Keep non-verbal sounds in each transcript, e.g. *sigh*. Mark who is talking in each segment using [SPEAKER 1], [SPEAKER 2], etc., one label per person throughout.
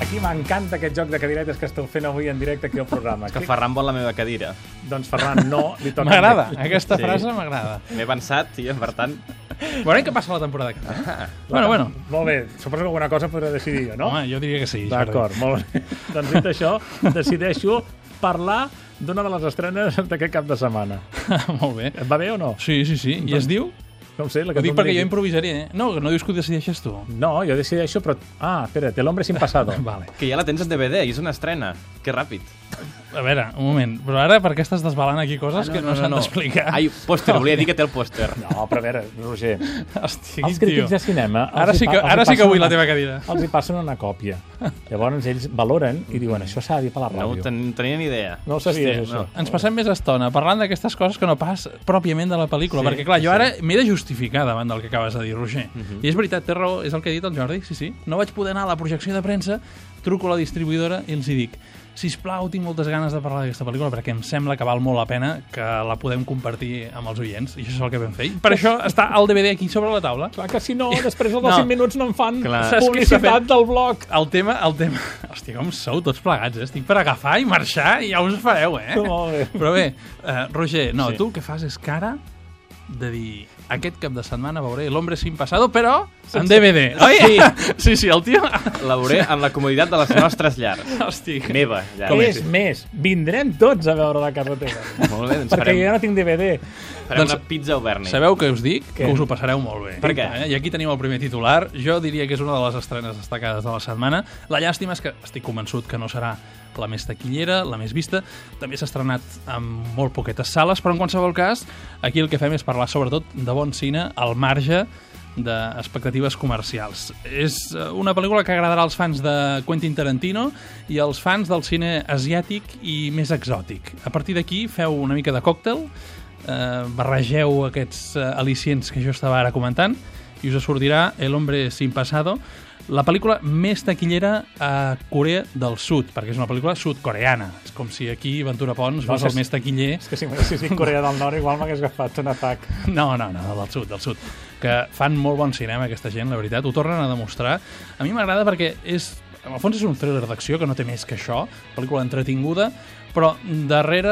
[SPEAKER 1] aquí m'encanta aquest joc de cadiretes que esteu fent avui en directe aquí al programa.
[SPEAKER 2] Que Ferran vol la meva cadira.
[SPEAKER 1] Doncs Ferran, no, li toca...
[SPEAKER 3] M'agrada,
[SPEAKER 1] a ell.
[SPEAKER 3] aquesta
[SPEAKER 2] Sí.
[SPEAKER 3] frase m'agrada.
[SPEAKER 2] M'he pensat, i per tant...
[SPEAKER 3] Veurem què passa la temporada que ve. eh? Bueno, bueno.
[SPEAKER 1] Molt bé, suposo que alguna cosa podré decidir jo, Ah, no?
[SPEAKER 3] Home, jo diria que sí. Jordi.
[SPEAKER 1] D'acord, molt bé. *laughs* Doncs dit això, decideixo parlar d'una de les estrenes d'aquest cap de setmana.
[SPEAKER 3] *laughs* Molt bé.
[SPEAKER 1] Et va bé o no?
[SPEAKER 3] Sí, sí, sí. I es diu?
[SPEAKER 1] No ho sé, la que
[SPEAKER 3] Ho
[SPEAKER 1] tu
[SPEAKER 3] dic
[SPEAKER 1] em
[SPEAKER 3] perquè jo
[SPEAKER 1] diguis.
[SPEAKER 3] improvisaré, eh? No, no dius que ho decideixes tu.
[SPEAKER 1] No, jo decideixo, però... Ah, espera't, l'hombre sin pasado.
[SPEAKER 3] *laughs* Vale.
[SPEAKER 2] Que ja la tens en DVD, i és una estrena. Que ràpid.
[SPEAKER 3] A veure, un moment. Però ara per què estàs desbalant aquí coses
[SPEAKER 1] Ah,
[SPEAKER 3] que no, s'han d'explicar? *laughs*
[SPEAKER 2] Ai, pòster, volia dir que té el pòster.
[SPEAKER 1] No, però a veure, Roger,
[SPEAKER 3] Hosti,
[SPEAKER 1] els crítics de
[SPEAKER 3] tio.
[SPEAKER 1] cinema... els
[SPEAKER 3] Ara
[SPEAKER 1] hi
[SPEAKER 3] sí
[SPEAKER 1] pa-
[SPEAKER 3] que,
[SPEAKER 1] els hi
[SPEAKER 3] ara sí que
[SPEAKER 1] passen
[SPEAKER 3] vull la
[SPEAKER 1] una-
[SPEAKER 3] teva cadira.
[SPEAKER 1] Els hi passen una còpia. Llavors ells valoren i diuen això s'ha de dir per la
[SPEAKER 2] No ho
[SPEAKER 1] ràdio.
[SPEAKER 2] ten, no tenia ni idea.
[SPEAKER 1] No ho sabies,
[SPEAKER 2] Hòstia,
[SPEAKER 1] això.
[SPEAKER 2] no.
[SPEAKER 3] Ens passem més estona parlant d'aquestes coses que no pas pròpiament de la pel·lícula,
[SPEAKER 1] Sí,
[SPEAKER 3] sí, Mhm. perquè clar, jo ara m'he de justificar davant del que acabes de dir, Roger. I és veritat, té raó, és el que ha dit el Jordi, sí, sí. No vaig poder anar a la projecció de premsa, truco a la distribuïdora i els hi dic sisplau, tinc moltes ganes de parlar d'aquesta pel·lícula perquè em sembla que val molt la pena que la podem compartir amb els oients, i això és el que vam fer. I Per això està el DVD aquí sobre la taula.
[SPEAKER 1] Clar que si no, després dels
[SPEAKER 3] No.
[SPEAKER 1] 5 minuts no em fan
[SPEAKER 2] Clar.
[SPEAKER 3] Saps què s'ha
[SPEAKER 1] publicitat
[SPEAKER 3] fet?
[SPEAKER 1] del blog.
[SPEAKER 3] El tema, el tema... Hòstia, com sou tots plegats, eh? Estic per agafar i marxar i ja us fareu, eh?
[SPEAKER 1] Molt bé.
[SPEAKER 3] Però bé, eh, Roger, no, sí. tu el que fas és cara de dir aquest cap de setmana veuré L'Hombre sin pasado, però en DVD. Oi? Sí. sí, sí, el tio...
[SPEAKER 2] La veuré en la comoditat de les nostres llars.
[SPEAKER 3] Hosti,
[SPEAKER 2] Meva llar.
[SPEAKER 3] Com
[SPEAKER 1] és més, vindrem tots a veure la casa teva.
[SPEAKER 2] Molt bé, doncs
[SPEAKER 1] perquè
[SPEAKER 2] farem,
[SPEAKER 1] jo no tinc DVD.
[SPEAKER 2] farem
[SPEAKER 3] Doncs-
[SPEAKER 2] una pizza au Berni.
[SPEAKER 3] Sabeu què us dic?
[SPEAKER 1] Què?
[SPEAKER 3] Que us ho passareu molt bé.
[SPEAKER 2] Per què?
[SPEAKER 3] Eh? I aquí tenim el primer titular. Jo diria que és una de les estrenes destacades de la setmana. La llàstima és que estic convençut que no serà la més taquillera, la més vista. També s'ha estrenat en molt poquetes sales, però en qualsevol cas, aquí el que fem és parlar sobretot de bon cine al marge d'expectatives comercials. És eh, una pel·lícula que agradarà als fans de Quentin Tarantino i als fans del cine asiàtic i més exòtic. A partir d'aquí feu una mica de còctel, eh, barregeu aquests eh, al·licients que jo estava ara comentant i us sortirà El hombre sin pasado, la pel·lícula més taquillera a Corea del Sud, perquè és una pel·lícula sudcoreana. És com si aquí Ventura Pons fos
[SPEAKER 1] Doncs
[SPEAKER 3] el més taquiller...
[SPEAKER 1] És que si m'haguessis dit Corea del Nord igual m'hagués agafat un atac.
[SPEAKER 3] No, no, no, del sud, del sud. Que fan molt bon cinema, aquesta gent, la veritat. Ho tornen a demostrar. A mi m'agrada perquè és... En el fons és un thriller d'acció que no té més que això, pel·lícula entretinguda, però darrere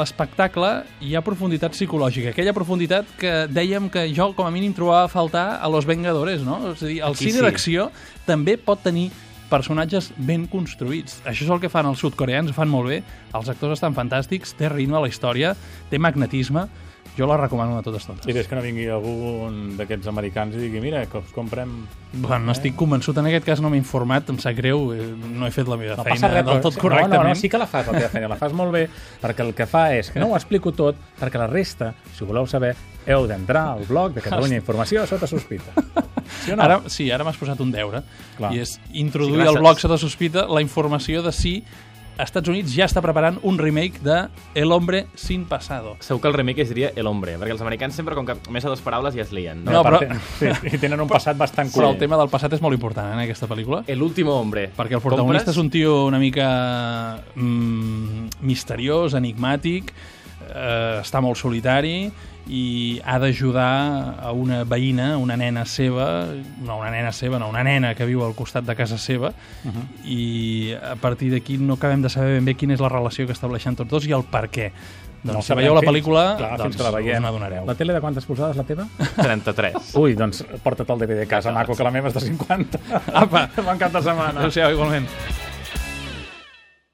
[SPEAKER 3] l'espectacle hi ha profunditat psicològica, aquella profunditat que dèiem que jo com a mínim trobava a faltar a Los Vengadores, no? És a dir, el
[SPEAKER 2] Aquí
[SPEAKER 3] cine
[SPEAKER 2] sí.
[SPEAKER 3] d'acció també pot tenir personatges ben construïts. Això és el que fan els sudcoreans, ho fan molt bé, els actors estan fantàstics, té ritme a la història, té magnetisme, jo la recomano a totes totes.
[SPEAKER 1] I és que no vingui algú d'aquests americans i digui, mira, que us comprem...
[SPEAKER 3] Bueno, estic convençut, en aquest cas no m'he informat, em sap greu, eh, no he fet la meva
[SPEAKER 1] No
[SPEAKER 3] feina
[SPEAKER 1] passa res,
[SPEAKER 3] del
[SPEAKER 1] però-
[SPEAKER 3] tot correctament.
[SPEAKER 1] No, no, no, sí que la fas, la teva feina, la fas molt bé, perquè el que fa és que no ho explico tot, perquè la resta, si ho voleu saber, heu d'entrar al blog de *laughs* Catalunya Informació sota sospita. Sí o no?
[SPEAKER 3] Ara, sí, ara m'has posat un deure,
[SPEAKER 1] Clar.
[SPEAKER 3] i és
[SPEAKER 2] Sí,
[SPEAKER 3] introduir
[SPEAKER 2] gràcies.
[SPEAKER 3] al bloc Sota Sospita la informació de si Estats Units ja està preparant un remake de El hombre sin pasado.
[SPEAKER 2] Segur que el remake es diria El Hombre, perquè els americans sempre, com que més a dues paraules, ja es lien, no?
[SPEAKER 3] No,
[SPEAKER 1] a part
[SPEAKER 3] però-
[SPEAKER 1] ten- Sí, i tenen un passat bastant
[SPEAKER 3] Però el
[SPEAKER 1] curiós.
[SPEAKER 3] tema del passat és molt important eh, en aquesta pel·lícula.
[SPEAKER 2] El último hombre.
[SPEAKER 3] Perquè el protagonista
[SPEAKER 2] Compres?
[SPEAKER 3] és un tio una mica mm, misteriós, enigmàtic, eh, està molt solitari i ha d'ajudar a una veïna, una nena seva, no una nena seva, no, una nena que viu al costat de casa seva uh
[SPEAKER 1] Uh-huh.
[SPEAKER 3] -huh. i a partir d'aquí no acabem de saber ben bé quina és la relació que estableixen tots dos i el per què. Doncs si
[SPEAKER 1] sabrem
[SPEAKER 3] veieu la
[SPEAKER 1] fins-
[SPEAKER 3] pel·lícula,
[SPEAKER 1] clar,
[SPEAKER 3] doncs
[SPEAKER 1] fins que la
[SPEAKER 3] us
[SPEAKER 1] veiem.
[SPEAKER 3] n'adonareu.
[SPEAKER 1] La tele de quantes polsades, la teva?
[SPEAKER 2] 33.
[SPEAKER 1] Ui, doncs porta't el DVD a casa, maco, que la meva és de 50.
[SPEAKER 3] Apa!
[SPEAKER 1] *laughs* Bon cap de setmana.
[SPEAKER 3] Adéu-siau, igualment.